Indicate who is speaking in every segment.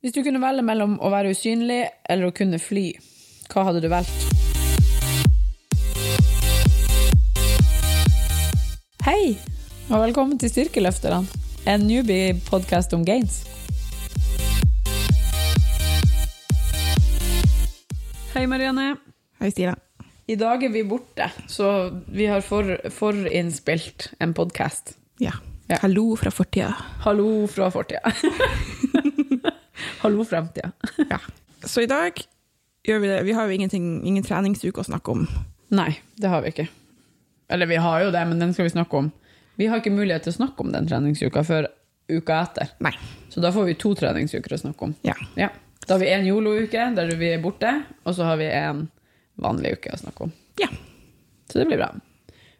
Speaker 1: Hvis du kunne velge mellom å være usynlig eller å kunne fly, hva hadde du valgt? Hei, og velkommen til Styrkeløfterne, en newbie-podkast om gains. Hei, Marianne.
Speaker 2: Hei, Stina.
Speaker 1: I dag er vi borte, så vi har for- forinnspilt en podkast.
Speaker 2: Ja.
Speaker 1: Ja.
Speaker 2: Hallo fra fortida.
Speaker 1: Hallo fra fortida. Hallo fremtida.
Speaker 2: Ja. Så i dag gjør vi det. Vi har jo ingenting, ingen treningsuke å snakke om.
Speaker 1: Nei, det har vi ikke. Eller vi har jo det, men den skal vi snakke om. Vi har ikke mulighet til å snakke om den treningsuka før uka etter.
Speaker 2: Nei.
Speaker 1: Så da får vi to treningsuker å snakke om.
Speaker 2: Ja.
Speaker 1: Ja. Da har vi en jolo-uke der vi er borte, og så har vi en vanlig uke å snakke om.
Speaker 2: Ja.
Speaker 1: Så det blir bra.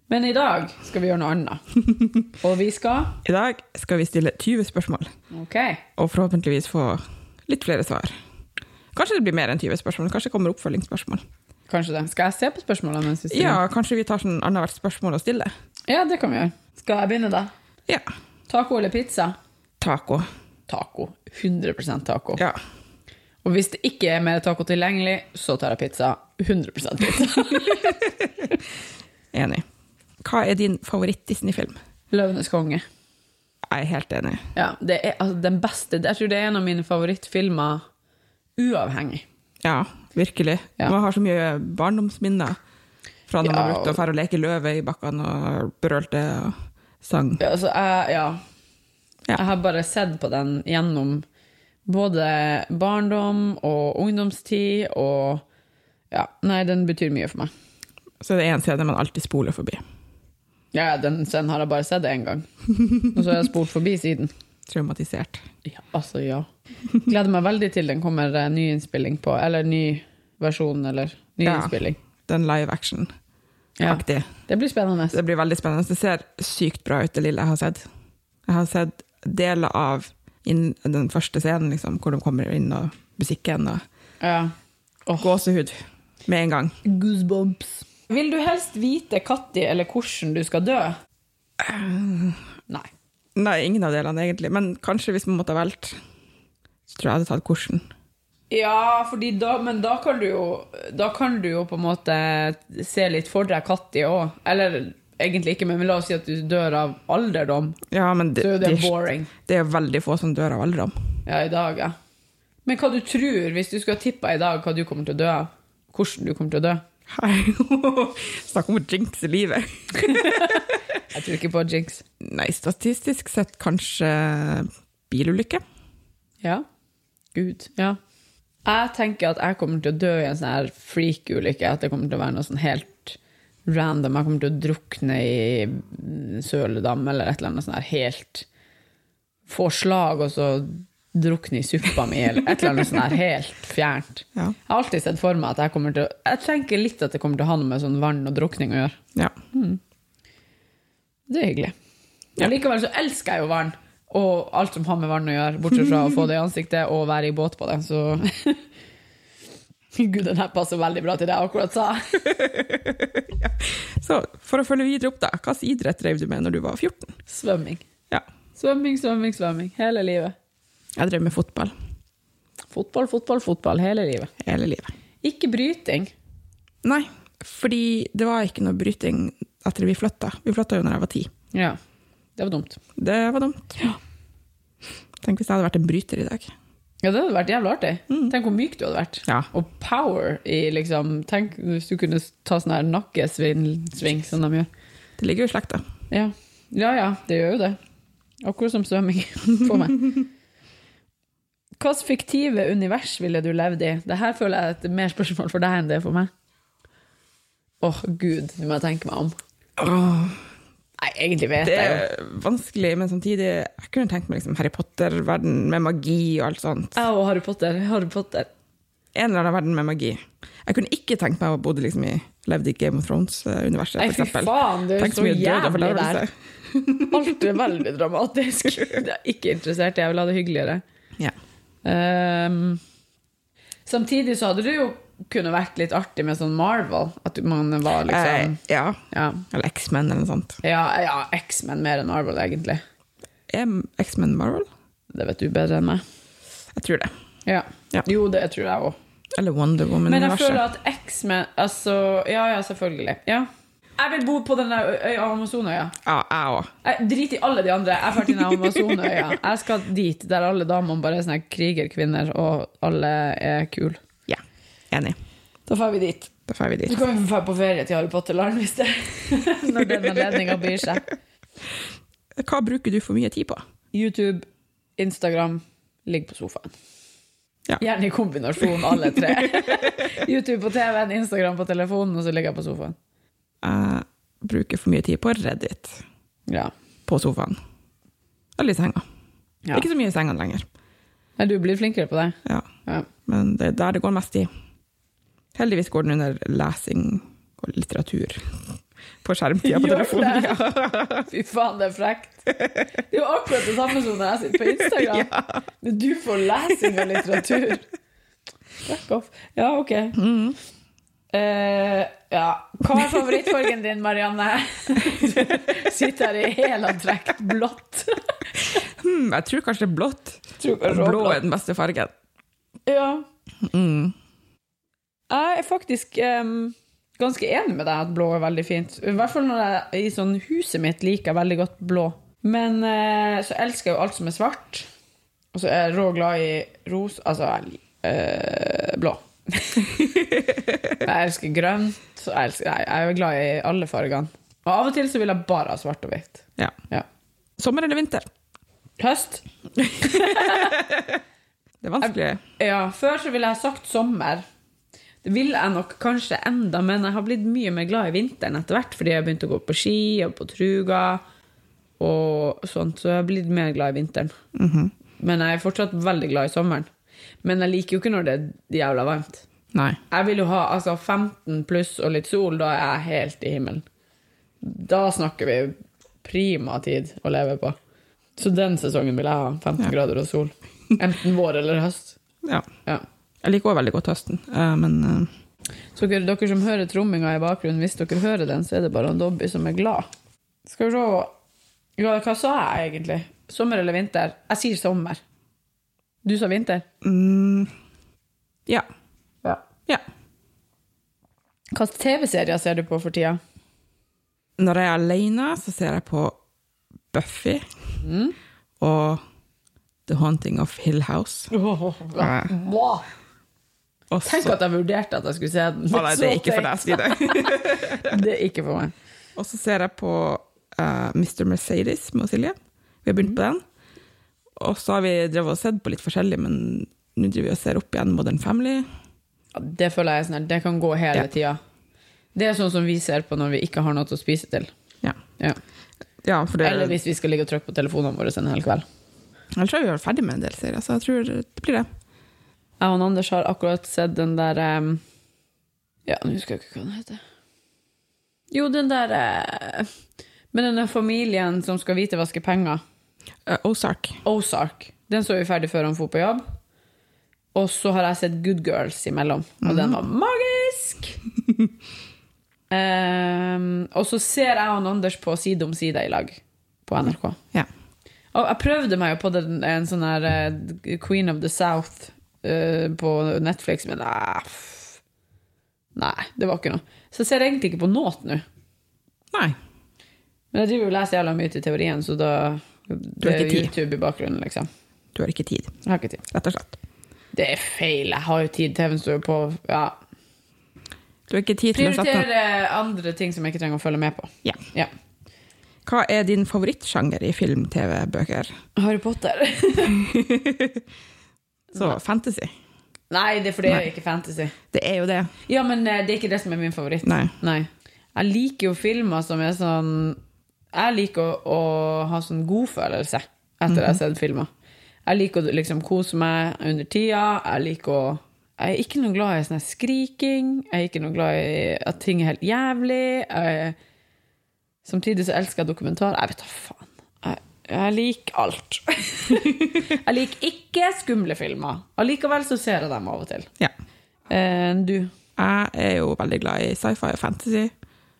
Speaker 1: Men i dag skal vi gjøre noe annet. Og vi skal
Speaker 2: I dag skal vi stille 20 spørsmål,
Speaker 1: Ok.
Speaker 2: og forhåpentligvis få litt flere svar. Kanskje det blir mer enn 20 spørsmål. Kanskje det kommer oppfølgingsspørsmål.
Speaker 1: Kanskje det. Skal jeg se på spørsmålene mens vi stiller?
Speaker 2: Ja, kanskje vi tar sånn annethvert spørsmål å stille.
Speaker 1: ja, det kan vi gjøre. Skal jeg begynne, da?
Speaker 2: Ja.
Speaker 1: Taco eller pizza?
Speaker 2: Taco.
Speaker 1: Taco. 100 taco.
Speaker 2: Ja.
Speaker 1: Og hvis det ikke er mer taco tilgjengelig, så tar jeg pizza. 100 pizza.
Speaker 2: Enig. Hva er din favoritt-Disney-film?
Speaker 1: Løvenes konge.
Speaker 2: Jeg er helt enig.
Speaker 1: Ja, det er altså, den beste. Jeg tror det er en av mine favorittfilmer uavhengig.
Speaker 2: Ja, virkelig.
Speaker 1: Ja.
Speaker 2: Man har så mye barndomsminner fra når man
Speaker 1: Ja,
Speaker 2: brukte å fære og leke løve i bakkene og brølte og sang.
Speaker 1: Ja, Altså, jeg, ja.
Speaker 2: Ja.
Speaker 1: jeg har bare sett på den gjennom både barndom og ungdomstid og Ja, nei, den betyr mye for meg.
Speaker 2: Så det er en scene man alltid spoler forbi.
Speaker 1: Ja, den scenen har jeg bare sett én gang. Og så har jeg spolt forbi siden.
Speaker 2: Traumatisert.
Speaker 1: Ja, altså, ja. Gleder meg veldig til den kommer eh, ny innspilling på, eller ny versjon, eller ny
Speaker 2: Ja.
Speaker 1: innspilling.
Speaker 2: Den live action-aktig.
Speaker 1: Ja. Det blir spennende.
Speaker 2: Det blir veldig spennende. Det ser sykt bra ut, det lille jeg har sett. Jeg har sett deler av inn, den første scenen, liksom, hvor de kommer inn og musikken og
Speaker 1: Ja.
Speaker 2: gåsehud med en gang.
Speaker 1: Goosebumps. Vil du helst vite når eller hvordan du skal dø? Nei.
Speaker 2: Nei, ingen av delene egentlig, men kanskje hvis man måtte ha valgt, så tror jeg jeg hadde tatt kursen.
Speaker 1: Ja, fordi da, men da kan du jo Da kan du jo på en måte se litt for deg når òg. Eller egentlig ikke, men la oss si at du dør av alderdom.
Speaker 2: Ja, men det,
Speaker 1: Så er jo det
Speaker 2: de-
Speaker 1: boring.
Speaker 2: Det er veldig få som dør av alderdom.
Speaker 1: Ja, i dag, ja. Men hva du tror, hvis du skulle ha tippa i dag hva du kommer til å dø av? Hvordan du kommer til å dø?
Speaker 2: Hei, Snakk om å jinxe livet.
Speaker 1: Jeg tror ikke på jinx.
Speaker 2: Nei, statistisk sett kanskje bilulykke.
Speaker 1: Ja. Gud, ja. Jeg tenker at jeg kommer til å dø i en sånn her freak-ulykke. At det kommer til å være noe sånn helt random. Jeg kommer til å drukne i mm, søledam eller et eller annet sånn her helt Få slag og så drukne i suppa mi, eller et eller annet sånn her helt fjernt.
Speaker 2: Ja.
Speaker 1: Jeg har alltid sett for meg at jeg kommer til å Jeg tenker litt at det kommer til å ha noe med sånn vann og drukning å gjøre.
Speaker 2: Ja.
Speaker 1: Det er hyggelig.
Speaker 2: Ja.
Speaker 1: Men likevel så elsker jeg jo vann, og alt som har med vann å gjøre, bortsett fra å få det i ansiktet og være i båt på det, så Gud, den her passer veldig bra til det jeg akkurat sa.
Speaker 2: Så for å følge videre opp, da. Hvilken idrett drev du med når du var 14?
Speaker 1: Svømming.
Speaker 2: Ja.
Speaker 1: Svømming, svømming, svømming. Hele livet.
Speaker 2: Jeg drev med fotball
Speaker 1: Fotball, fotball, fotball. Hele livet.
Speaker 2: hele livet.
Speaker 1: Ikke bryting.
Speaker 2: Nei, fordi det var ikke noe bryting etter vi flytta. Vi flytta jo når jeg var ti.
Speaker 1: Ja. Det var dumt.
Speaker 2: Det var dumt. Tenk hvis jeg hadde vært en bryter i dag.
Speaker 1: Ja, det hadde vært jævlig artig. Tenk hvor myk du hadde vært.
Speaker 2: Ja.
Speaker 1: Og power i liksom Tenk hvis du kunne ta sånn her nakkesving som de gjør.
Speaker 2: Det ligger jo i slekta.
Speaker 1: Ja. ja, ja, det gjør jo det. Akkurat som svømming for meg. Hvilket fiktive univers ville du levd i? Dette føler jeg er et mer spørsmål for deg enn det er for meg. Åh, gud, nå må jeg tenke meg om.
Speaker 2: Åh,
Speaker 1: Nei, egentlig vet
Speaker 2: Det
Speaker 1: jeg jo.
Speaker 2: er vanskelig, men samtidig Jeg kunne tenkt meg liksom Harry Potter-verden med magi og alt sånt.
Speaker 1: Jeg og Harry Potter. Harry Potter.
Speaker 2: en eller annen verden med magi. Jeg kunne ikke tenkt meg å bodde liksom i, levde i Game of Thrones-universet,
Speaker 1: Nei,
Speaker 2: for
Speaker 1: fy
Speaker 2: eksempel.
Speaker 1: faen, du er
Speaker 2: Tenk så
Speaker 1: så
Speaker 2: mye død og
Speaker 1: jævlig der.
Speaker 2: fordervelse.
Speaker 1: Alt er veldig dramatisk. Det er ikke interessert, jeg vil ha det hyggeligere.
Speaker 2: Ja.
Speaker 1: Ehm, samtidig så hadde det jo kunne vært litt artig med sånn Marvel. At man var
Speaker 2: Eh,
Speaker 1: liksom
Speaker 2: ja.
Speaker 1: Ja,
Speaker 2: Eller X-Men eller noe sånt.
Speaker 1: ja, ja X-Men mer enn Marvel, egentlig.
Speaker 2: Er X-Men Marvel?
Speaker 1: Det vet du bedre enn meg.
Speaker 2: Jeg tror det.
Speaker 1: Ja.
Speaker 2: Ja.
Speaker 1: Jo, det tror jeg òg.
Speaker 2: Eller Wonder
Speaker 1: Men jeg
Speaker 2: Woman-universet.
Speaker 1: føler at X-Men Altså, ja ja, selvfølgelig. Ja. Jeg vil bo på den der ø- øya Amazonøya.
Speaker 2: Ja, jeg òg.
Speaker 1: Jeg- Drit i alle de andre. Jeg drar til den Amazonøya. Jeg skal dit der alle damene bare er sånne krigerkvinner, og alle er kule.
Speaker 2: Ja. Enig.
Speaker 1: Da drar vi dit.
Speaker 2: Da drar vi
Speaker 1: Så
Speaker 2: dit.
Speaker 1: kan vi dra på ferie til Harry Potter-land hvis det Når den anledninga byr seg.
Speaker 2: Hva bruker du for mye tid på?
Speaker 1: YouTube, Instagram, ligg på sofaen.
Speaker 2: Ja.
Speaker 1: Gjerne i kombinasjon, alle tre. YouTube på TV-en, Instagram på telefonen, og så ligger jeg på sofaen.
Speaker 2: Jeg bruker for mye tid på Reddit.
Speaker 1: Ja.
Speaker 2: På sofaen. Eller i senga.
Speaker 1: ja.
Speaker 2: Ikke så mye i senga lenger.
Speaker 1: Men du blir flinkere på det.
Speaker 2: Ja.
Speaker 1: Ja.
Speaker 2: Men det er der det går mest tid. Heldigvis går den under lesing og litteratur på skjermtida på
Speaker 1: Gjør
Speaker 2: telefonen.
Speaker 1: det? Fy faen, det er frekt. Det er jo akkurat det samme som når jeg sitter på Instagram. Men du får lesing av litteratur. Fuck off. Ja, ok.
Speaker 2: Mm.
Speaker 1: Eh, ja. Hva er favorittfargen din, Marianne? Du sitter her i helantrekk blått.
Speaker 2: Hmm, jeg tror kanskje det er blått.
Speaker 1: Tror jeg
Speaker 2: Blå
Speaker 1: råblått.
Speaker 2: er den beste fargen.
Speaker 1: Ja.
Speaker 2: Mm.
Speaker 1: Jeg er faktisk em, ganske enig med deg at blå er veldig fint. I hvert fall når jeg i sånn huset mitt liker jeg veldig godt blå. Men eh, så elsker jeg jo alt som er svart. Og så er jeg rå glad i ros... Altså jeg lik- eh, blå. jeg elsker grønt. Så jeg, elsker, nei, jeg er glad i alle fargene. Og av og til så vil jeg bare ha svart og hvitt.
Speaker 2: Ja.
Speaker 1: Ja.
Speaker 2: Sommer eller vinter?
Speaker 1: Høst?
Speaker 2: Det er vanskelig.
Speaker 1: Ja, før så ville jeg sagt sommer. Det ville jeg nok kanskje enda, men jeg har blitt mye mer glad i vinteren etter hvert, fordi jeg begynte å gå på ski og på truga og sånt, så jeg har blitt mer glad i vinteren. Men jeg er fortsatt veldig glad i sommeren. Men jeg liker jo ikke når det er jævla varmt.
Speaker 2: Nei.
Speaker 1: Jeg vil jo ha altså 15 pluss og litt sol, da er jeg helt i himmelen. Da snakker vi prima tid å leve på. Så den sesongen vil jeg ha 15
Speaker 2: Ja.
Speaker 1: grader og sol. Enten vår eller høst.
Speaker 2: Ja.
Speaker 1: Ja.
Speaker 2: Jeg liker også veldig godt høsten, eh, men eh,
Speaker 1: Så dere, dere som hører tromminga i bakgrunnen, hvis dere hører den, så er det bare en Dobby som er glad. Skal vi se ja, Hva sa jeg egentlig? Sommer eller vinter? Jeg sier sommer. Du sa vinter?
Speaker 2: mm, ja.
Speaker 1: Ja.
Speaker 2: ja.
Speaker 1: Hva TV-serier ser du på for tida?
Speaker 2: Når jeg er alene, så ser jeg på Buffy
Speaker 1: Mm.
Speaker 2: og The Haunting of Hill House.
Speaker 1: Wow.
Speaker 2: Og
Speaker 1: Tenk
Speaker 2: så-
Speaker 1: at jeg vurderte at jeg skulle se den.
Speaker 2: Å nei, det er ikke for deg, Stine.
Speaker 1: Det er ikke for meg.
Speaker 2: Og så ser jeg på eh, Mr. Mercedes med Silje. Vi har begynt på den. Og så har vi drevet og sett på litt forskjellig, men nå driver vi og ser opp igjen Modern Family.
Speaker 1: Ja, Det føler jeg er sånn her, Det kan gå hele
Speaker 2: Ja.
Speaker 1: tida. Det er sånn som vi ser på når vi ikke har noe til å spise til.
Speaker 2: Ja,
Speaker 1: Ja.
Speaker 2: ja for det,
Speaker 1: Eller hvis vi skal ligge og trykke på telefonene våre en hel kveld.
Speaker 2: Jeg tror vi er ferdig med en del serier, så jeg tror det blir det.
Speaker 1: Jeg og Anders har akkurat sett den der em, Ja, nå husker jeg ikke hva den heter. Jo, den der eh, Med den der familien som skal hvitvaske penger.
Speaker 2: Eh, Ozark.
Speaker 1: Ozark. Den så vi ferdig før han dro på jobb. Og så har jeg sett Good Girls imellom, og
Speaker 2: Mhm.
Speaker 1: den var magisk! Em, og så ser jeg og Anders på Side om side i lag på NRK.
Speaker 2: Ja.
Speaker 1: Og jeg prøvde meg jo på den, en sånn her eh, Queen of the South eh, på Netflix, men nei, pff. nei, det var ikke noe. Så jeg ser egentlig ikke på noe nå.
Speaker 2: Nei.
Speaker 1: Men jeg driver jo og leser jævla mye til teorien, så da det
Speaker 2: har
Speaker 1: er jo
Speaker 2: ikke tid.
Speaker 1: YouTube i bakgrunnen, liksom.
Speaker 2: Du har ikke tid,
Speaker 1: Jeg har ikke tid.
Speaker 2: rett og slett.
Speaker 1: Det er feil, jeg har jo tid. TV-en står jo på. Ja.
Speaker 2: Du har ikke tid til å sette
Speaker 1: Prioritere andre ting som jeg ikke trenger å følge med på.
Speaker 2: Ja.
Speaker 1: Ja.
Speaker 2: Hva er din favorittsjanger i film, TV, bøker?
Speaker 1: Harry Potter.
Speaker 2: Så fantasy.
Speaker 1: Nei, det er fordi det er ikke fantasy.
Speaker 2: Det er jo det.
Speaker 1: Ja, men eh, det er ikke det som er min favoritt.
Speaker 2: Nei.
Speaker 1: Nei. Jeg liker jo filmer som er sånn Jeg liker å, å ha sånn godfølelse etter jeg har sett filmer. Jeg liker å liksom kose meg under tida. Jeg liker å Jeg er ikke noe glad i sånn her skriking. Jeg er ikke noe glad i at ting er helt jævlig. Jeg, samtidig så elsker jeg dokumentarer. Jeg vet da faen. Jeg, jeg liker alt. jeg liker ikke skumle filmer. Allikevel så ser jeg dem av og til.
Speaker 2: Ja.
Speaker 1: Eh, du?
Speaker 2: Jeg er jo veldig glad i sci-fi og fantasy.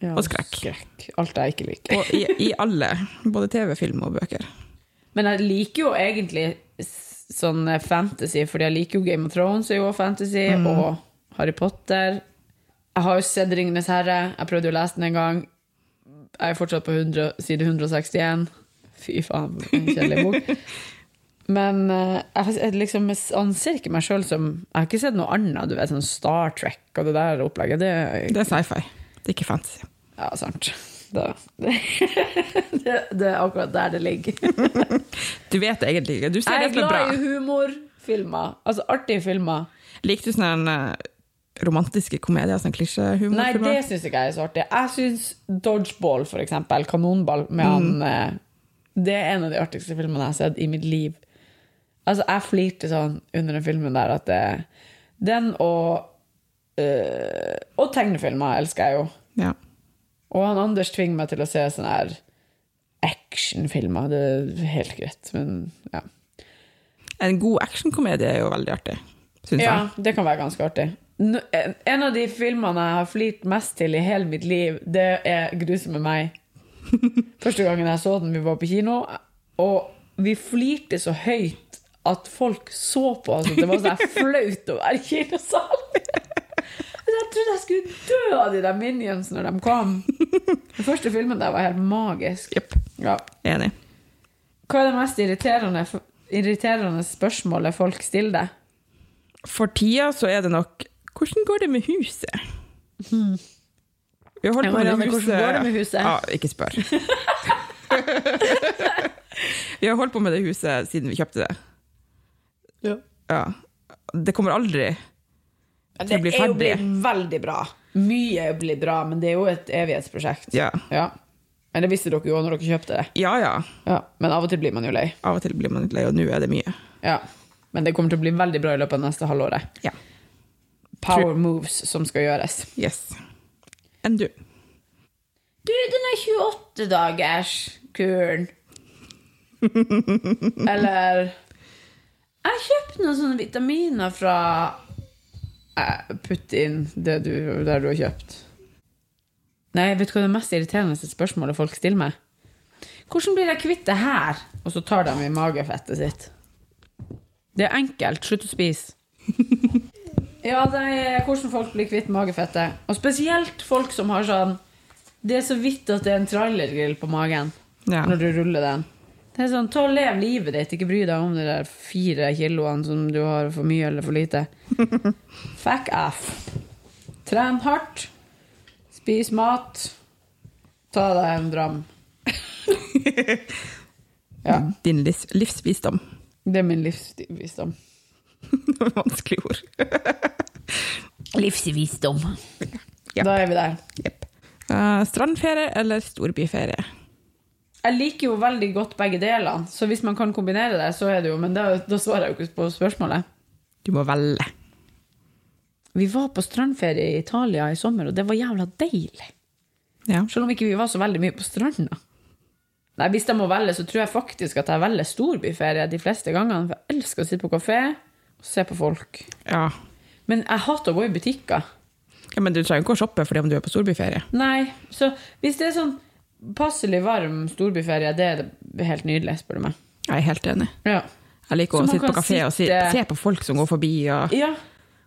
Speaker 1: Ja,
Speaker 2: Og skrekk.
Speaker 1: Alt jeg ikke liker.
Speaker 2: Og i, i alle, både TV, film og bøker.
Speaker 1: Men jeg liker jo egentlig s- sånn eh, fantasy, fordi jeg liker jo Game of Thrones, er jo også fantasy, og Harry Potter. Jeg har jo sett Ringenes herre, jeg prøvde jo å lese den en gang. Jeg er fortsatt på 100, side 161. Fy faen, for en kjedelig bok. Men eh, jeg, jeg liksom anser ikke meg sjøl som Jeg har ikke sett noe annet, du vet, sånn Star Trek og det der opplegget. Det,
Speaker 2: Det er sci-fi. Det er ikke fantasy.
Speaker 1: ja, sant. Da. Det, det er akkurat der det ligger.
Speaker 2: Du vet egentlig ikke. Du ser
Speaker 1: Jeg
Speaker 2: det
Speaker 1: er
Speaker 2: som er bra.
Speaker 1: glad i humorfilmer. Altså artige filmer.
Speaker 2: Likte du sånne eh, romantiske komedier, sånn klisjehumor?
Speaker 1: Nei, det syns ikke jeg er så artig. Jeg syns Dodgeball, for eksempel, kanonball, med
Speaker 2: Mm.
Speaker 1: han eh, Det er en av de artigste filmene jeg har sett i mitt liv. Altså, jeg flirte sånn under den filmen der at det, Den og eh, Og tegnefilmer elsker jeg jo.
Speaker 2: Ja.
Speaker 1: Og han Anders tvinger meg til å se sånne her actionfilmer. Det er helt greit, men ja.
Speaker 2: En god actionkomedie er jo veldig artig, syns
Speaker 1: Ja,
Speaker 2: jeg.
Speaker 1: det kan være ganske artig. N- en- En av de filmene jeg har flirt mest til i hele mitt liv, det er 'Grusomme meg'. Første gangen jeg så den, vi var på kino, og vi flirte så høyt at folk så på oss at det var så her flaut å være i kinosalen. Jeg trodde jeg skulle dø av de der minions når de kom. Den første filmen der var helt magisk.
Speaker 2: Jepp.
Speaker 1: Ja.
Speaker 2: Enig.
Speaker 1: Hva er det mest irriterende, irriterende spørsmålet folk stiller deg?
Speaker 2: For tida så er det nok Hvordan går det med huset? Vi har holdt
Speaker 1: Ja,
Speaker 2: på med
Speaker 1: Marianne,
Speaker 2: huset
Speaker 1: hvordan går det med huset?
Speaker 2: Ja, ikke spør. vi har holdt på med det huset siden vi kjøpte det.
Speaker 1: Ja.
Speaker 2: Ja. Det kommer aldri til
Speaker 1: Det
Speaker 2: å bli
Speaker 1: er jo
Speaker 2: ferdig.
Speaker 1: blitt veldig bra. Mye blir bra, men det er jo et evighetsprosjekt.
Speaker 2: Ja.
Speaker 1: Ja. Men det visste dere jo når dere kjøpte det.
Speaker 2: ja ja.
Speaker 1: Ja. Men av og til blir man jo lei.
Speaker 2: Av og til blir man litt lei, og nå er det mye.
Speaker 1: Ja. Men det kommer til å bli veldig bra i løpet av neste halvåret.
Speaker 2: Ja.
Speaker 1: Power moves som skal gjøres.
Speaker 2: Yes. Enn du?
Speaker 1: Du, den er 28 dagers kuren. Eller Jeg kjøpte noen sånne vitaminer fra eh, Putt inn det du, der du har kjøpt. Nei, vet du hva det mest irriterende spørsmålet folk stiller meg? Hvordan blir jeg kvitt det her? Og så tar de i magefettet sitt. Det er enkelt. Slutt å spise. ja, det er hvordan folk blir kvitt magefettet. Og spesielt folk som har sånn Det er så vidt at det er en trailergrill på magen
Speaker 2: Ja.
Speaker 1: når du ruller den. Det er sånn, ta og Lev livet ditt, ikke bry deg om de der fire kiloene som du har for mye eller for lite. Fuck off. Tren hardt. Spis mat. Ta deg en dram. ja.
Speaker 2: Din livs livsvisdom.
Speaker 1: Det er min livsvisdom.
Speaker 2: Det var et Vanskelig ord.
Speaker 1: Livsvisdom.
Speaker 2: Ja.
Speaker 1: Da er vi der.
Speaker 2: Jepp. Eh, strandferie eller storbyferie?
Speaker 1: Jeg liker jo veldig godt begge delene, så hvis man kan kombinere det, så er det jo Men da, da svarer jeg jo ikke på spørsmålet.
Speaker 2: Du må velge.
Speaker 1: Vi var på strandferie i Italia i sommer, og det var jævla deilig.
Speaker 2: Ja.
Speaker 1: Selv om ikke vi var så veldig mye på stranda. Nei, Hvis jeg må velge, så tror jeg faktisk at jeg velger storbyferie de fleste gangene. For jeg elsker å sitte på kafé og se på folk.
Speaker 2: ja.
Speaker 1: Men jeg hater å gå i butikker.
Speaker 2: Ja, men du trenger ikke å shoppe fordi om du er på storbyferie.
Speaker 1: Nei, så hvis det er sånn passelig varm storbyferie, det er det helt nydelig, spør du meg.
Speaker 2: Jeg er helt enig.
Speaker 1: Ja.
Speaker 2: Jeg liker
Speaker 1: Så
Speaker 2: å
Speaker 1: man
Speaker 2: sitte på
Speaker 1: kan
Speaker 2: kafé og si,
Speaker 1: sitte-
Speaker 2: se på folk som går forbi. Og,
Speaker 1: ja.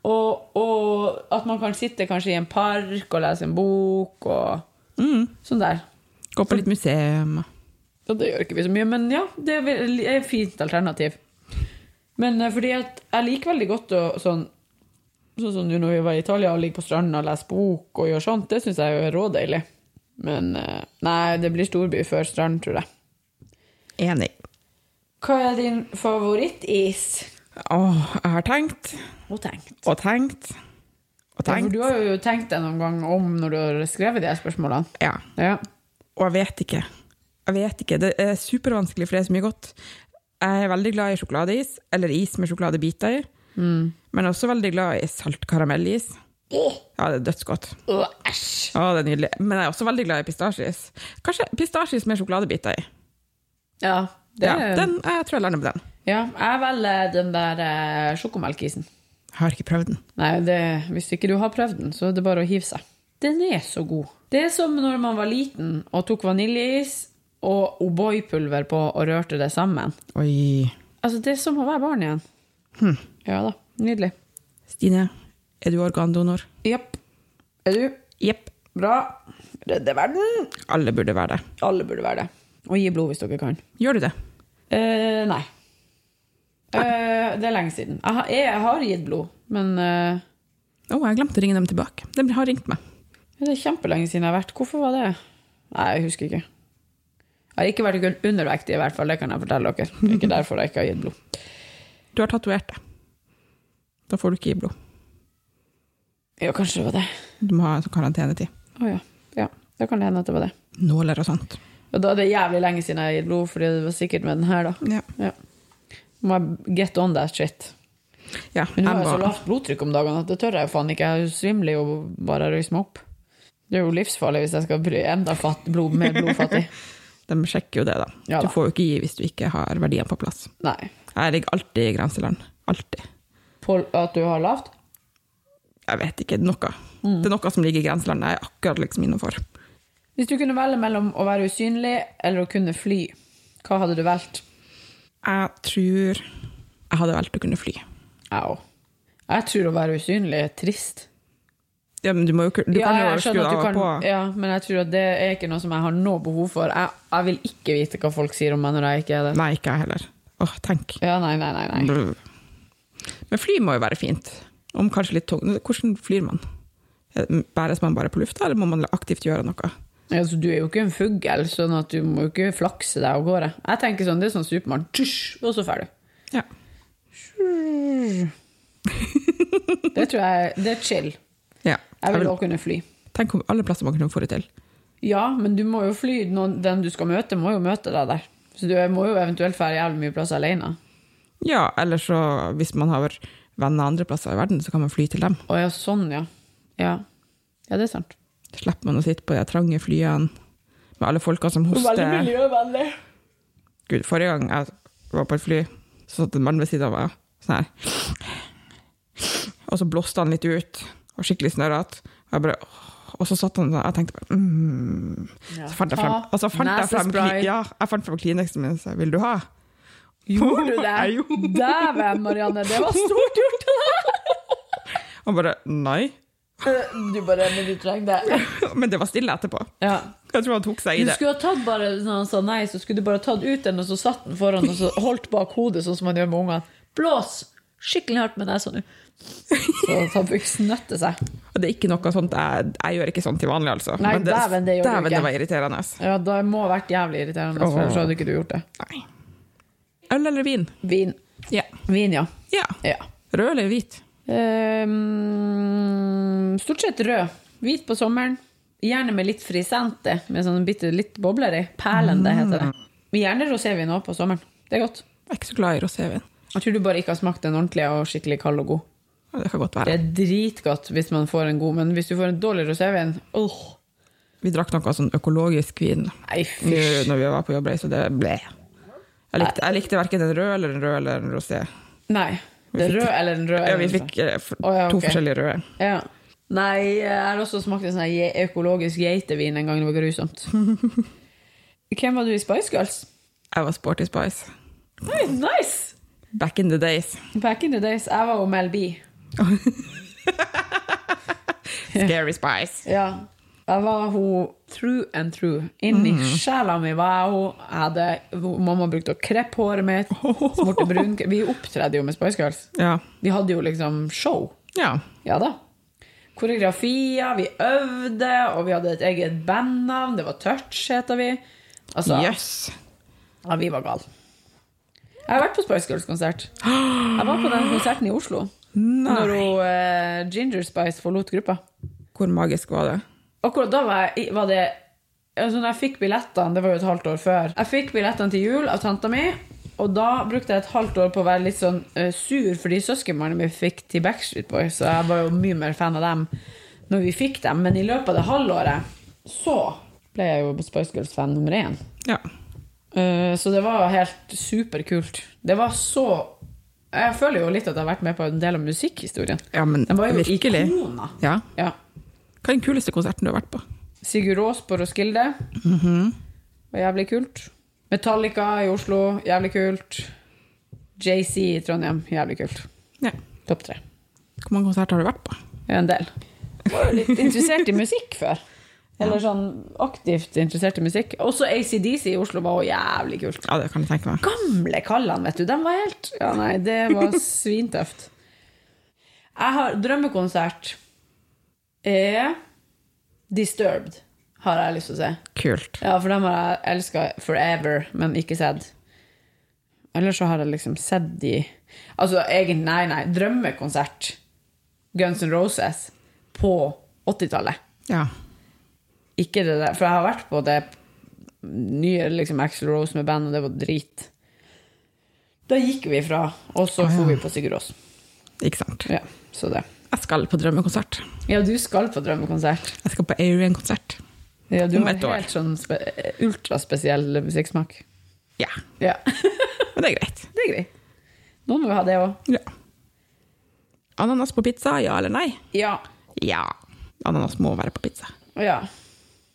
Speaker 1: Og, og at man kan sitte kanskje i en park og lese en bok og sånn der.
Speaker 2: gå på litt museum.
Speaker 1: Og det gjør ikke vi så mye, men ja, det er vel- er et fint alternativ. Men eh, fordi at jeg liker veldig godt å sånn Sånn som nå når vi var i Italia og ligger på stranda og leser bok og gjør sånt, det syns jeg jo er rådeilig. Men eh, nei, det blir storby før strand, tror jeg.
Speaker 2: Enig.
Speaker 1: Hva er din favorittis?
Speaker 2: Åh, jeg har tenkt
Speaker 1: Og tenkt.
Speaker 2: og tenkt
Speaker 1: Ja,
Speaker 2: og
Speaker 1: for
Speaker 2: tenkt.
Speaker 1: du har jo tenkt deg noen gang om når du har skrevet de her spørsmålene.
Speaker 2: Ja,
Speaker 1: Ja.
Speaker 2: og jeg vet ikke. Jeg vet ikke. Det er supervanskelig, for det er så mye godt. Jeg er veldig glad i sjokoladeis, eller is med sjokoladebiter i.
Speaker 1: Mm.
Speaker 2: Men jeg er også veldig glad i salt karamellis. Ja, det er dødsgodt.
Speaker 1: Æsj!
Speaker 2: Å, det er nydelig. Men jeg er også veldig glad i pistasjeis. Kanskje pistasjeis med sjokoladebiter i.
Speaker 1: Ja, det,
Speaker 2: Ja,
Speaker 1: ja,
Speaker 2: den, jeg tror jeg lander på den.
Speaker 1: jeg velger den der eh, sjokomelkisen.
Speaker 2: Jeg har ikke prøvd den.
Speaker 1: Nei, det, hvis ikke du har prøvd den, så er det bare å hive seg. Den er så god. Det er som når man var liten og tok vaniljeis og O'boy-pulver på og rørte det sammen.
Speaker 2: Oi.
Speaker 1: Altså, det er som å være barn igjen. Hm. Ja da. Nydelig.
Speaker 2: Stine, er du organdonor?
Speaker 1: Jepp. Er du?
Speaker 2: Jepp.
Speaker 1: Bra. Redde verden.
Speaker 2: Alle burde være det.
Speaker 1: Alle burde være det. Og gi blod hvis dere kan.
Speaker 2: Gjør du det?
Speaker 1: Eh, nei. Eh, det er lenge siden. Jeg har, jeg har gitt blod, men eh,
Speaker 2: Å, jeg glemte å ringe dem tilbake. De har ringt meg.
Speaker 1: det er kjempelenge siden jeg har vært. Hvorfor var det? Nei, jeg husker ikke. Jeg har ikke vært undervektig, i hvert fall. Det kan jeg fortelle dere. Det er ikke derfor jeg ikke har gitt blod.
Speaker 2: Du har tatovert det. Da får du ikke gi blod.
Speaker 1: Ja, kanskje det var det.
Speaker 2: Du må ha en sånn karantenetid.
Speaker 1: Å ja. ja. Da kan det hende at det var det.
Speaker 2: Nåler og sånt.
Speaker 1: Og da er det jævlig lenge siden jeg har gitt blod, fordi det var sikkert med den her, da.
Speaker 2: Ja.
Speaker 1: Ja. Må jeg get on that shit.
Speaker 2: ja
Speaker 1: Men
Speaker 2: jeg
Speaker 1: nå har jeg så
Speaker 2: må,
Speaker 1: lavt blodtrykk om dagene at det tør jeg jo faen ikke. Jeg svimler jo bare av å røyse meg opp. Det er jo livsfarlig hvis jeg skal bli enda fatt, blod, mer blodfattig.
Speaker 2: de sjekker jo det, da.
Speaker 1: Ja da.
Speaker 2: du får jo ikke gi hvis du ikke har verdiene på plass.
Speaker 1: Nei.
Speaker 2: Jeg ligger alltid i grenseland. Alltid.
Speaker 1: På at du har lavt?
Speaker 2: Jeg vet ikke, det er noe.
Speaker 1: Mm.
Speaker 2: Det er noe som ligger i grenseland. Jeg er akkurat liksom innenfor.
Speaker 1: Hvis du kunne velge mellom å være usynlig eller å kunne fly, hva hadde du valgt?
Speaker 2: Jeg tror jeg hadde valgt å kunne fly.
Speaker 1: Au. Jeg tror å være usynlig er trist.
Speaker 2: Ja, men du må jo ku- du kan jo
Speaker 1: jeg
Speaker 2: skru
Speaker 1: skjønner at
Speaker 2: av
Speaker 1: du
Speaker 2: og på.
Speaker 1: kan- Ja, men jeg tror at det er ikke noe som jeg har noe behov for. Jeg, jeg vil ikke vite hva folk sier om meg når jeg ikke er det.
Speaker 2: Nei, ikke jeg heller. Åh, tenk.
Speaker 1: Ja, nei, nei, nei, nei.
Speaker 2: Brr. Men fly må jo være fint. Om kanskje litt tung. Hvordan flyr man? Bæres man bare på lufta, eller må man aktivt gjøre noe?
Speaker 1: Altså, du er jo ikke en fugl, sånn at du må jo ikke flakse deg av gårde. Jeg tenker sånn, det er sånn Supermann, tysj, og så ferdig.
Speaker 2: Ja.
Speaker 1: Det tror jeg, det er chill.
Speaker 2: ja.
Speaker 1: Jeg vil
Speaker 2: Jeg vil,
Speaker 1: også kunne fly.
Speaker 2: tenk om alle plasser man kunne få det til.
Speaker 1: Ja, men du må jo fly, noen, den du skal møte må jo møte deg der. Så du må jo eventuelt fære jævlig mye plass alene.
Speaker 2: Ja, eller så hvis man har venner andre plasser i verden, så kan man fly til dem.
Speaker 1: Å ja, sånn, ja. Ja, ja det er sant.
Speaker 2: Slipper man å sitte på de trange flyene med alle folka som hoster.
Speaker 1: miljøvennlig.
Speaker 2: Gud, forrige gang jeg var på et fly, så satt en mann ved siden av meg sånn her. Og så blåste han litt ut, og skikkelig snørrete. Og, jeg bare, åh. og så satt han sånn, jeg tenkte bare mm. Så fant jeg frem,
Speaker 1: Ta
Speaker 2: og så fant jeg frem,
Speaker 1: nesespray.
Speaker 2: kli- ja, jeg fant frem Kleenexen min og sa 'vil du ha'?
Speaker 1: Gjorde du
Speaker 2: Jeg
Speaker 1: det?
Speaker 2: gjorde.
Speaker 1: Dæven, Marianne, det var stort gjort av deg!
Speaker 2: Han bare 'nei'.
Speaker 1: Du bare Men du trenger det.
Speaker 2: Men det var stille etterpå.
Speaker 1: Ja.
Speaker 2: Jeg tror han tok seg i
Speaker 1: Du
Speaker 2: det.
Speaker 1: skulle ha tatt bare Når han sa nei, så skulle du bare tatt ut den, og så satt den foran, og så holdt bak hodet, sånn som man gjør med ungene. Blås skikkelig hardt med nesa nå. Så at han fikk snøtte seg.
Speaker 2: Og det er ikke noe sånt, jeg, jeg gjør ikke sånn til vanlig, altså.
Speaker 1: Nei,
Speaker 2: Men det,
Speaker 1: dæven, det gjør du
Speaker 2: dæven,
Speaker 1: ikke.
Speaker 2: det var irriterende. altså.
Speaker 1: Ja, det må ha vært jævlig irriterende, for ellers hadde ikke du gjort det.
Speaker 2: Nei. Øl eller vin?
Speaker 1: Vin.
Speaker 2: Ja.
Speaker 1: Vin, ja.
Speaker 2: ja.
Speaker 1: ja.
Speaker 2: Rød eller hvit?
Speaker 1: Ehm, stort sett rød. Hvit på sommeren. Gjerne med litt frisente, med sånn bitte litt bobler i. Perlende
Speaker 2: Mm.
Speaker 1: heter det. Men Gjerne rosévin òg på sommeren. Det er godt.
Speaker 2: Jeg er ikke så glad i rosévin.
Speaker 1: Jeg tror du bare ikke har smakt den ordentlige og skikkelig kald og god.
Speaker 2: Ja, Det kan godt
Speaker 1: Det
Speaker 2: være.
Speaker 1: er dritgodt hvis man får en god, men hvis du får en dårlig rosévin åh,
Speaker 2: Vi drakk noe sånn økologisk vin
Speaker 1: Nei,
Speaker 2: nå-
Speaker 1: fysj.
Speaker 2: når vi var på jobbreise, og det ble jeg likte, jeg likte verken en rød eller en rød eller en rosé.
Speaker 1: Nei. Det er rød eller en rød.
Speaker 2: Ja,
Speaker 1: eller
Speaker 2: vi
Speaker 1: en
Speaker 2: fikk eh, f-
Speaker 1: Å, ja,
Speaker 2: to
Speaker 1: ok.
Speaker 2: forskjellige røde.
Speaker 1: rød. ja. Nei, jeg har også smakt en sånn her ge- økologisk geitevin en gang. Det var grusomt. Hvem var du i Spice Girls?
Speaker 2: Jeg var sporty spice.
Speaker 1: Nei, nice!
Speaker 2: Back in the days.
Speaker 1: Back in the days. Jeg var jo Mel B.
Speaker 2: Scary spice.
Speaker 1: Ja. Jeg var hun true and true. Inni sjela mi var jeg hun. Jeg hadde, hun- mamma brukte å kreppe håret mitt. Smorte brun. Vi opptredde jo med Spice Girls.
Speaker 2: Ja.
Speaker 1: Vi hadde jo liksom show.
Speaker 2: ja.
Speaker 1: Ja da. Koreografier, vi øvde, og vi hadde et eget bandnavn. Det var Touch, heter vi. Altså,
Speaker 2: Jøss.
Speaker 1: ja, vi var gale. Jeg har vært på Spice Girls-konsert. Jeg var på den konserten i Oslo. Når hun, eh, Ginger Spice forlot gruppa.
Speaker 2: Hvor magisk var det?
Speaker 1: Akkurat da var, jeg, i- var det altså Når jeg fikk billettene, det var jo et halvt år før Jeg fikk billettene til jul av tanta mi, og da brukte jeg et halvt år på å være litt sånn eh, sur fordi søskenbarnet mitt fikk til Backstreet Boys, så jeg var jo mye mer fan av dem når vi fikk dem. Men i løpet av det halvåret så ble jeg jo Spice Girls-fan nummer én.
Speaker 2: Ja.
Speaker 1: Eh, Så det var helt superkult. Det var så Jeg føler jo litt at jeg har vært med på en del av musikkhistorien.
Speaker 2: ja men
Speaker 1: Den var jo
Speaker 2: virkelig.
Speaker 1: ikoner.
Speaker 2: Ja.
Speaker 1: Ja.
Speaker 2: Hva er den kuleste konserten du har vært på?
Speaker 1: Sigurd Aas på Roskilde.
Speaker 2: Mhm.
Speaker 1: Var jævlig kult. Metallica i Oslo, jævlig kult. JC i Trondheim, jævlig kult.
Speaker 2: Ja.
Speaker 1: Topp tre.
Speaker 2: Hvor mange konserter har du vært på?
Speaker 1: Ja, En del. Var jo litt interessert i musikk før. Eller sånn aktivt interessert i musikk. Også ACDC i Oslo var jo jævlig kult.
Speaker 2: Ja, det kan jeg tenke meg.
Speaker 1: Gamle kallene, vet du. De var helt Ja, nei, det var svintøft. Jeg har drømmekonsert er Disturbed, har jeg lyst til å si.
Speaker 2: Kult.
Speaker 1: Ja, for dem har jeg elska forever, men ikke sett. Eller så har jeg liksom sett de Altså, egentlig, nei, nei, drømmekonsert. Guns N' Roses på 80-tallet.
Speaker 2: Ja.
Speaker 1: Ikke det der, for jeg har vært på det nye liksom Axl Rose med band, og det var drit. Da gikk vi fra, og så dro vi på Sigur Rós.
Speaker 2: Ikke sant.
Speaker 1: Ja, så det.
Speaker 2: Jeg skal på drømmekonsert.
Speaker 1: Ja, du skal på drømmekonsert.
Speaker 2: Jeg skal på Arian-konsert.
Speaker 1: Ja, du
Speaker 2: Om
Speaker 1: har
Speaker 2: et år.
Speaker 1: helt sånn spe ultraspesiell musikksmak.
Speaker 2: Ja,
Speaker 1: Ja,
Speaker 2: men det er greit.
Speaker 1: det er greit. Noen må jo ha det òg.
Speaker 2: Ja. Ananas på pizza, ja eller nei?
Speaker 1: Ja.
Speaker 2: Ja. Ananas må være på pizza.
Speaker 1: ja.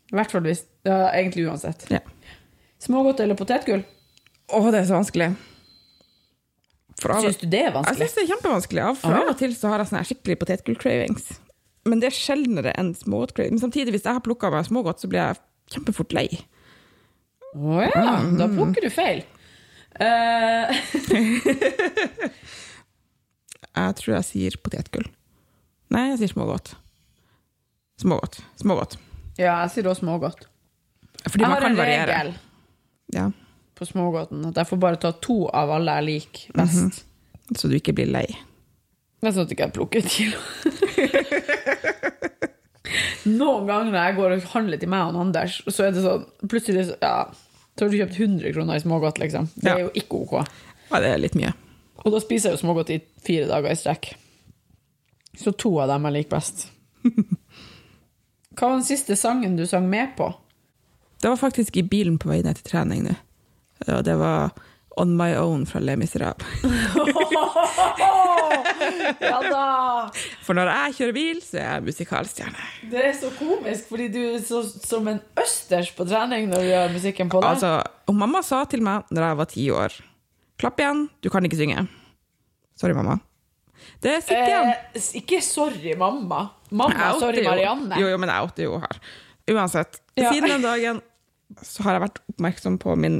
Speaker 1: I hvert fall hvis ja, Egentlig uansett.
Speaker 2: Ja.
Speaker 1: Smågodt eller potetgull?
Speaker 2: Å, det er så vanskelig. For av,
Speaker 1: Syns du det er
Speaker 2: jeg
Speaker 1: vanskelig?
Speaker 2: syns det er kjempevanskelig. av- For
Speaker 1: Ah, ja.
Speaker 2: av og til så har jeg sånne her skikkelig potetgull-cravings. Men det er sjeldnere enn smågodt-cravings. Men samtidig, hvis jeg har plukka meg smågodt, så blir jeg kjempefort lei.
Speaker 1: Å ja,
Speaker 2: Mm.
Speaker 1: da plukker du feil. Eh,
Speaker 2: Jeg tror jeg sier potetgull. Nei, jeg sier smågodt. Smågodt. Smågodt.
Speaker 1: ja, jeg sier også smågodt.
Speaker 2: Fordi
Speaker 1: jeg
Speaker 2: man
Speaker 1: har
Speaker 2: kan
Speaker 1: en
Speaker 2: variere.
Speaker 1: regel
Speaker 2: Ja.
Speaker 1: på smågodten at jeg får bare ta to av alle jeg liker best.
Speaker 2: Så du ikke blir lei.
Speaker 1: Men sånn at jeg ikke plukker et kilo. Noen ganger når jeg går og handler til meg og Anders, så er det sånn Plutselig så, ja, så har du kjøpt 100 kroner i smågodt, liksom. Det er
Speaker 2: Ja.
Speaker 1: jo ikke ok.
Speaker 2: Ja, det er litt mye.
Speaker 1: Og da spiser jeg jo smågodt i fire dager i strekk. Så to av dem jeg liker best. Hva var den siste sangen du sang med på?
Speaker 2: Det var faktisk i bilen på vei ned til trening nå. Og det var On My Own fra Le Miserable.
Speaker 1: Ja da!
Speaker 2: For når jeg kjører bil, så er jeg musikalstjerne.
Speaker 1: Det er så komisk, fordi du er så, som en østers på trening når du gjør musikken på deg.
Speaker 2: Altså, og mamma sa til meg når jeg var ti år Klapp igjen, du kan ikke synge. Sorry, mamma. Det sitter igjen.
Speaker 1: eh, s- ikke sorry, mamma.
Speaker 2: Jeg
Speaker 1: Mamma,
Speaker 2: outer
Speaker 1: sorry,
Speaker 2: jo-
Speaker 1: Marianne.
Speaker 2: Jo, jo, men jeg outer jo her. Uansett.
Speaker 1: Ja.
Speaker 2: Siden den dagen så har jeg vært oppmerksom på min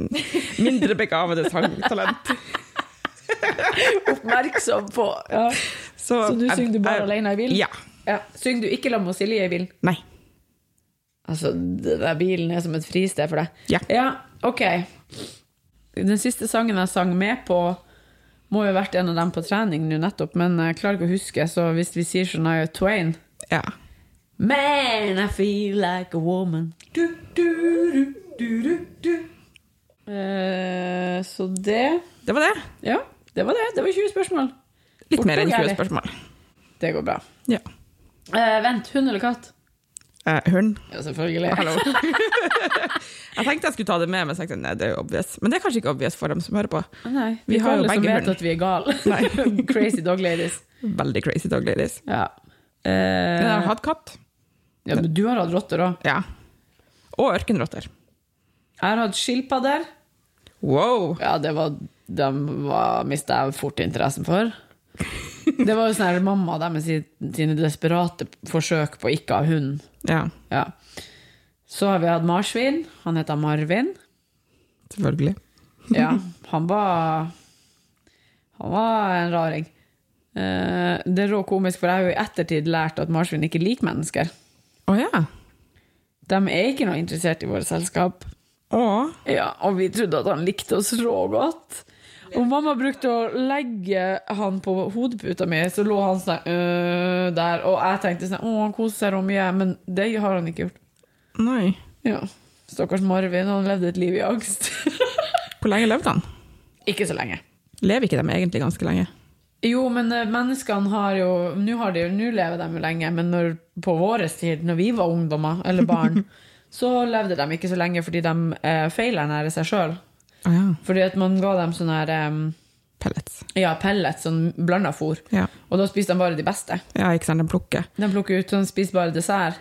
Speaker 2: mindre begavede sangtalent.
Speaker 1: Oppmerksom på. Ja.
Speaker 2: Så,
Speaker 1: Så du
Speaker 2: jeg-
Speaker 1: synger du bare
Speaker 2: jeg-
Speaker 1: alene i bilen?
Speaker 2: Ja.
Speaker 1: Ja. Syng du ikke la med Silje i bilen?
Speaker 2: Nei.
Speaker 1: Altså, den der bilen er som et fristed for deg.
Speaker 2: Ja.
Speaker 1: ok. Den siste sangen jeg sang med på, må jo ha vært en av dem på trening nå nettopp, men jeg klarer ikke å huske, så hvis vi sier Shania Twain
Speaker 2: Ja.
Speaker 1: Man, I feel like a woman. Du, du, du, du, du, du. Eh, så det
Speaker 2: Det var det.
Speaker 1: Ja, det var det. Det var 20 spørsmål.
Speaker 2: Litt mer
Speaker 1: Fort
Speaker 2: enn
Speaker 1: og
Speaker 2: 20
Speaker 1: gærlig.
Speaker 2: spørsmål.
Speaker 1: Det går bra.
Speaker 2: Ja.
Speaker 1: Eh, vent, hund eller katt?
Speaker 2: Eh, hund.
Speaker 1: Ja, selvfølgelig.
Speaker 2: Hallo. jeg tenkte jeg skulle ta det med, men så tenkte jeg, nei, det er jo obvious. Men det er kanskje ikke obvious for dem som hører på.
Speaker 1: Nei,
Speaker 2: Vi
Speaker 1: vi,
Speaker 2: har
Speaker 1: har
Speaker 2: jo
Speaker 1: alle som
Speaker 2: begge
Speaker 1: vet
Speaker 2: hund.
Speaker 1: at vi er gale.
Speaker 2: Nei.
Speaker 1: Crazy dog ladies.
Speaker 2: Veldig crazy dog, ladies.
Speaker 1: Ja.
Speaker 2: Men jeg har
Speaker 1: Eh,
Speaker 2: hatt katt.
Speaker 1: ja, men du har hatt rotter òg.
Speaker 2: Ja. Og ørkenrotter.
Speaker 1: Jeg har hatt skilpadder.
Speaker 2: Wow.
Speaker 1: Ja, det var Dem mista jeg fort interessen for. Det var jo sånn her mamma og dem med sin- sine desperate forsøk på å ikke ha hund.
Speaker 2: Ja,
Speaker 1: Ja. Så har vi hatt marsvin. Han heter Marvin.
Speaker 2: selvfølgelig.
Speaker 1: Ja, han var Han var en raring. Eh, det er råkomisk, for jeg har jo i ettertid lært at marsvin ikke liker mennesker.
Speaker 2: Å ja.
Speaker 1: De er ikke noe interessert i våre selskap.
Speaker 2: Å.
Speaker 1: Ja, og vi trodde at han likte oss rågodt. Og mamma brukte å legge han på hodeputa mi, så lå han sånn øh, der. Og jeg tenkte sånn Å, han koser seg så mye. Men det har han ikke gjort.
Speaker 2: Nei.
Speaker 1: Ja. Stakkars Marvin, han levde et liv i angst.
Speaker 2: Hvor lenge levde han?
Speaker 1: ikke så lenge.
Speaker 2: Lever ikke de egentlig ganske lenge?
Speaker 1: Jo, men eh, menneskene har jo Nå har de jo- nå lever de jo lenge, men når, på vår tid, når vi var ungdommer eller barn, så levde de ikke så lenge fordi de eh, feilernærer seg sjøl.
Speaker 2: Å ja.
Speaker 1: Fordi at man ga dem sånn her em,
Speaker 2: Pellets.
Speaker 1: ja, pellets, sånn blanda fôr.
Speaker 2: Ja.
Speaker 1: Og da spiser de bare de beste.
Speaker 2: ja, ikke sant, de plukker.
Speaker 1: De plukker ut sånn spisbar dessert.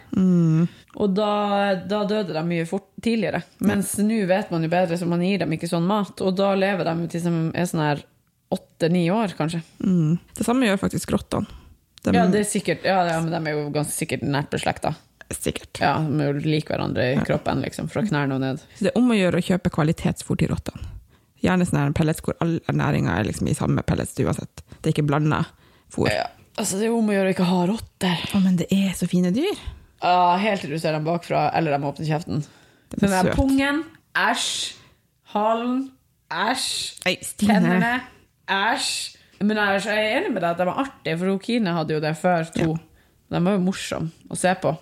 Speaker 1: Og da, da døde de mye fort, tidligere. Mens nå vet man jo bedre, så man gir dem ikke sånn mat. Og da lever de jo til de er sånn her åtte-ni år, kanskje.
Speaker 2: Mm. Det samme gjør faktisk rottene. De,
Speaker 1: Ja, det er sikkert, ja, ja, men de er jo ganske sikkert nært beslekta.
Speaker 2: Sikkert.
Speaker 1: Ja, de er jo like hverandre i kroppen, liksom, fra knærne og ned.
Speaker 2: Så det er om å gjøre å kjøpe kvalitetsfôr til rottene. Gjerne sånn her pellets hvor all ernæringa er liksom i samme pellets uansett. Det er ikke blanda fôr.
Speaker 1: Ja, altså, det er jo om å gjøre å ikke ha rotter.
Speaker 2: Å, men det er så fine dyr!
Speaker 1: Ja, helt til du ser dem bakfra, eller de åpner kjeften.
Speaker 2: Det
Speaker 1: Den
Speaker 2: blir
Speaker 1: der
Speaker 2: søt.
Speaker 1: pungen, æsj. Halen, æsj.
Speaker 2: Nei, Stine.
Speaker 1: Tennene, æsj. Men jeg er så- jeg er enig med deg at de er artige, for hun Kine hadde jo det før, to. De var jo morsomme å se på.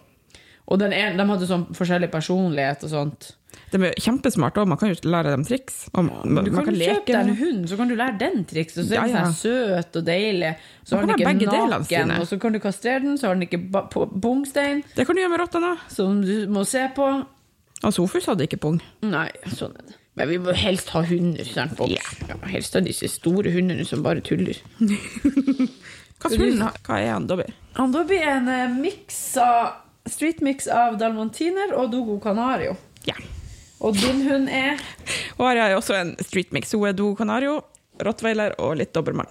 Speaker 1: Og den ene, de hadde sånn forskjellig personlighet og sånt.
Speaker 2: De er jo kjempesmarte òg, man kan jo lære dem triks. Og man,
Speaker 1: Du kan,
Speaker 2: man kan
Speaker 1: kjøpe
Speaker 2: leke
Speaker 1: deg en
Speaker 2: med
Speaker 1: hund, så kan du lære den trikset. Så er den
Speaker 2: Ja, ja.
Speaker 1: sånn søt og deilig. Så
Speaker 2: Man
Speaker 1: har den
Speaker 2: kan ha begge
Speaker 1: ikke
Speaker 2: delene
Speaker 1: naken,
Speaker 2: sine.
Speaker 1: og så kan du kastrere den, så har den ikke ba- på- pungstein,
Speaker 2: Det kan du gjøre med rottene òg.
Speaker 1: som du må se på.
Speaker 2: Og Sofus hadde ikke pung.
Speaker 1: Nei, sånn er det. Men vi må helst ha hunder, sant, folks? Ja, helst ha disse store hundene som bare tuller.
Speaker 2: Hva, skulle den ha? Hva er han, Dobby?
Speaker 1: Han da blir en eh, mix av Streetmix av dalmantiner og Dogo Canario.
Speaker 2: Ja.
Speaker 1: Og din hund er
Speaker 2: Og her er også en streetmix. Hun er do canario, rottweiler og litt dobbermann.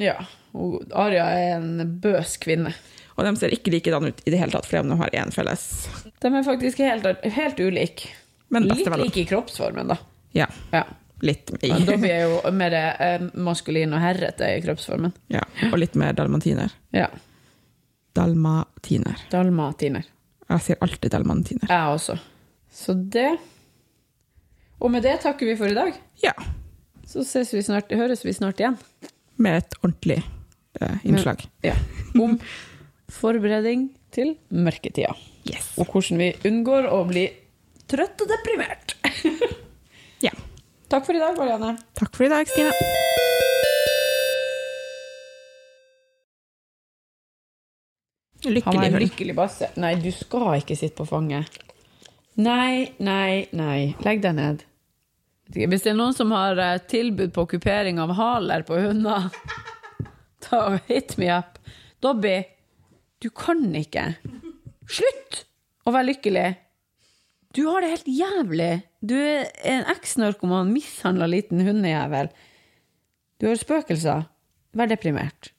Speaker 1: Ja. Og Aria er en bøs kvinne.
Speaker 2: Og de ser ikke likedan ut i det hele tatt, fordi de har én felles.
Speaker 1: De er faktisk helt, helt ulike.
Speaker 2: Men
Speaker 1: Litt
Speaker 2: bestevenner.
Speaker 1: like i kroppsformen, da.
Speaker 2: Ja,
Speaker 1: Ja.
Speaker 2: litt i.
Speaker 1: Men Dobby er jo mer eh, maskulin og herrete i kroppsformen.
Speaker 2: Ja, og litt mer dalmatiner.
Speaker 1: Ja.
Speaker 2: Dalmatiner.
Speaker 1: Dalmatiner.
Speaker 2: Jeg sier alltid dalmatiner.
Speaker 1: Jeg også. Så det Og med det takker vi for i dag.
Speaker 2: Ja,
Speaker 1: Så ses vi snart, høres vi snart igjen.
Speaker 2: med et ordentlig eh, innslag.
Speaker 1: Ja. Om forberedning til mørketida.
Speaker 2: Yes.
Speaker 1: Og hvordan vi unngår å bli trøtt og deprimert.
Speaker 2: Ja.
Speaker 1: Takk for i dag, Marianne.
Speaker 2: Takk for i dag, Stina.
Speaker 1: Han
Speaker 2: Lykkelig
Speaker 1: er en
Speaker 2: hund.
Speaker 1: lykkelig basse. Nei, du skal ikke sitte på fanget. Nei, nei, nei. Legg deg ned. Vet ikke, Hvis det er noen som har eh, tilbud på kupering av haler på hunder, ta og hit me up. Dobby, du kan ikke. Slutt å være lykkelig. Du har det helt jævlig. Du er en eks-narkoman, mishandla liten hundejævel. Du har spøkelser. Vær deprimert.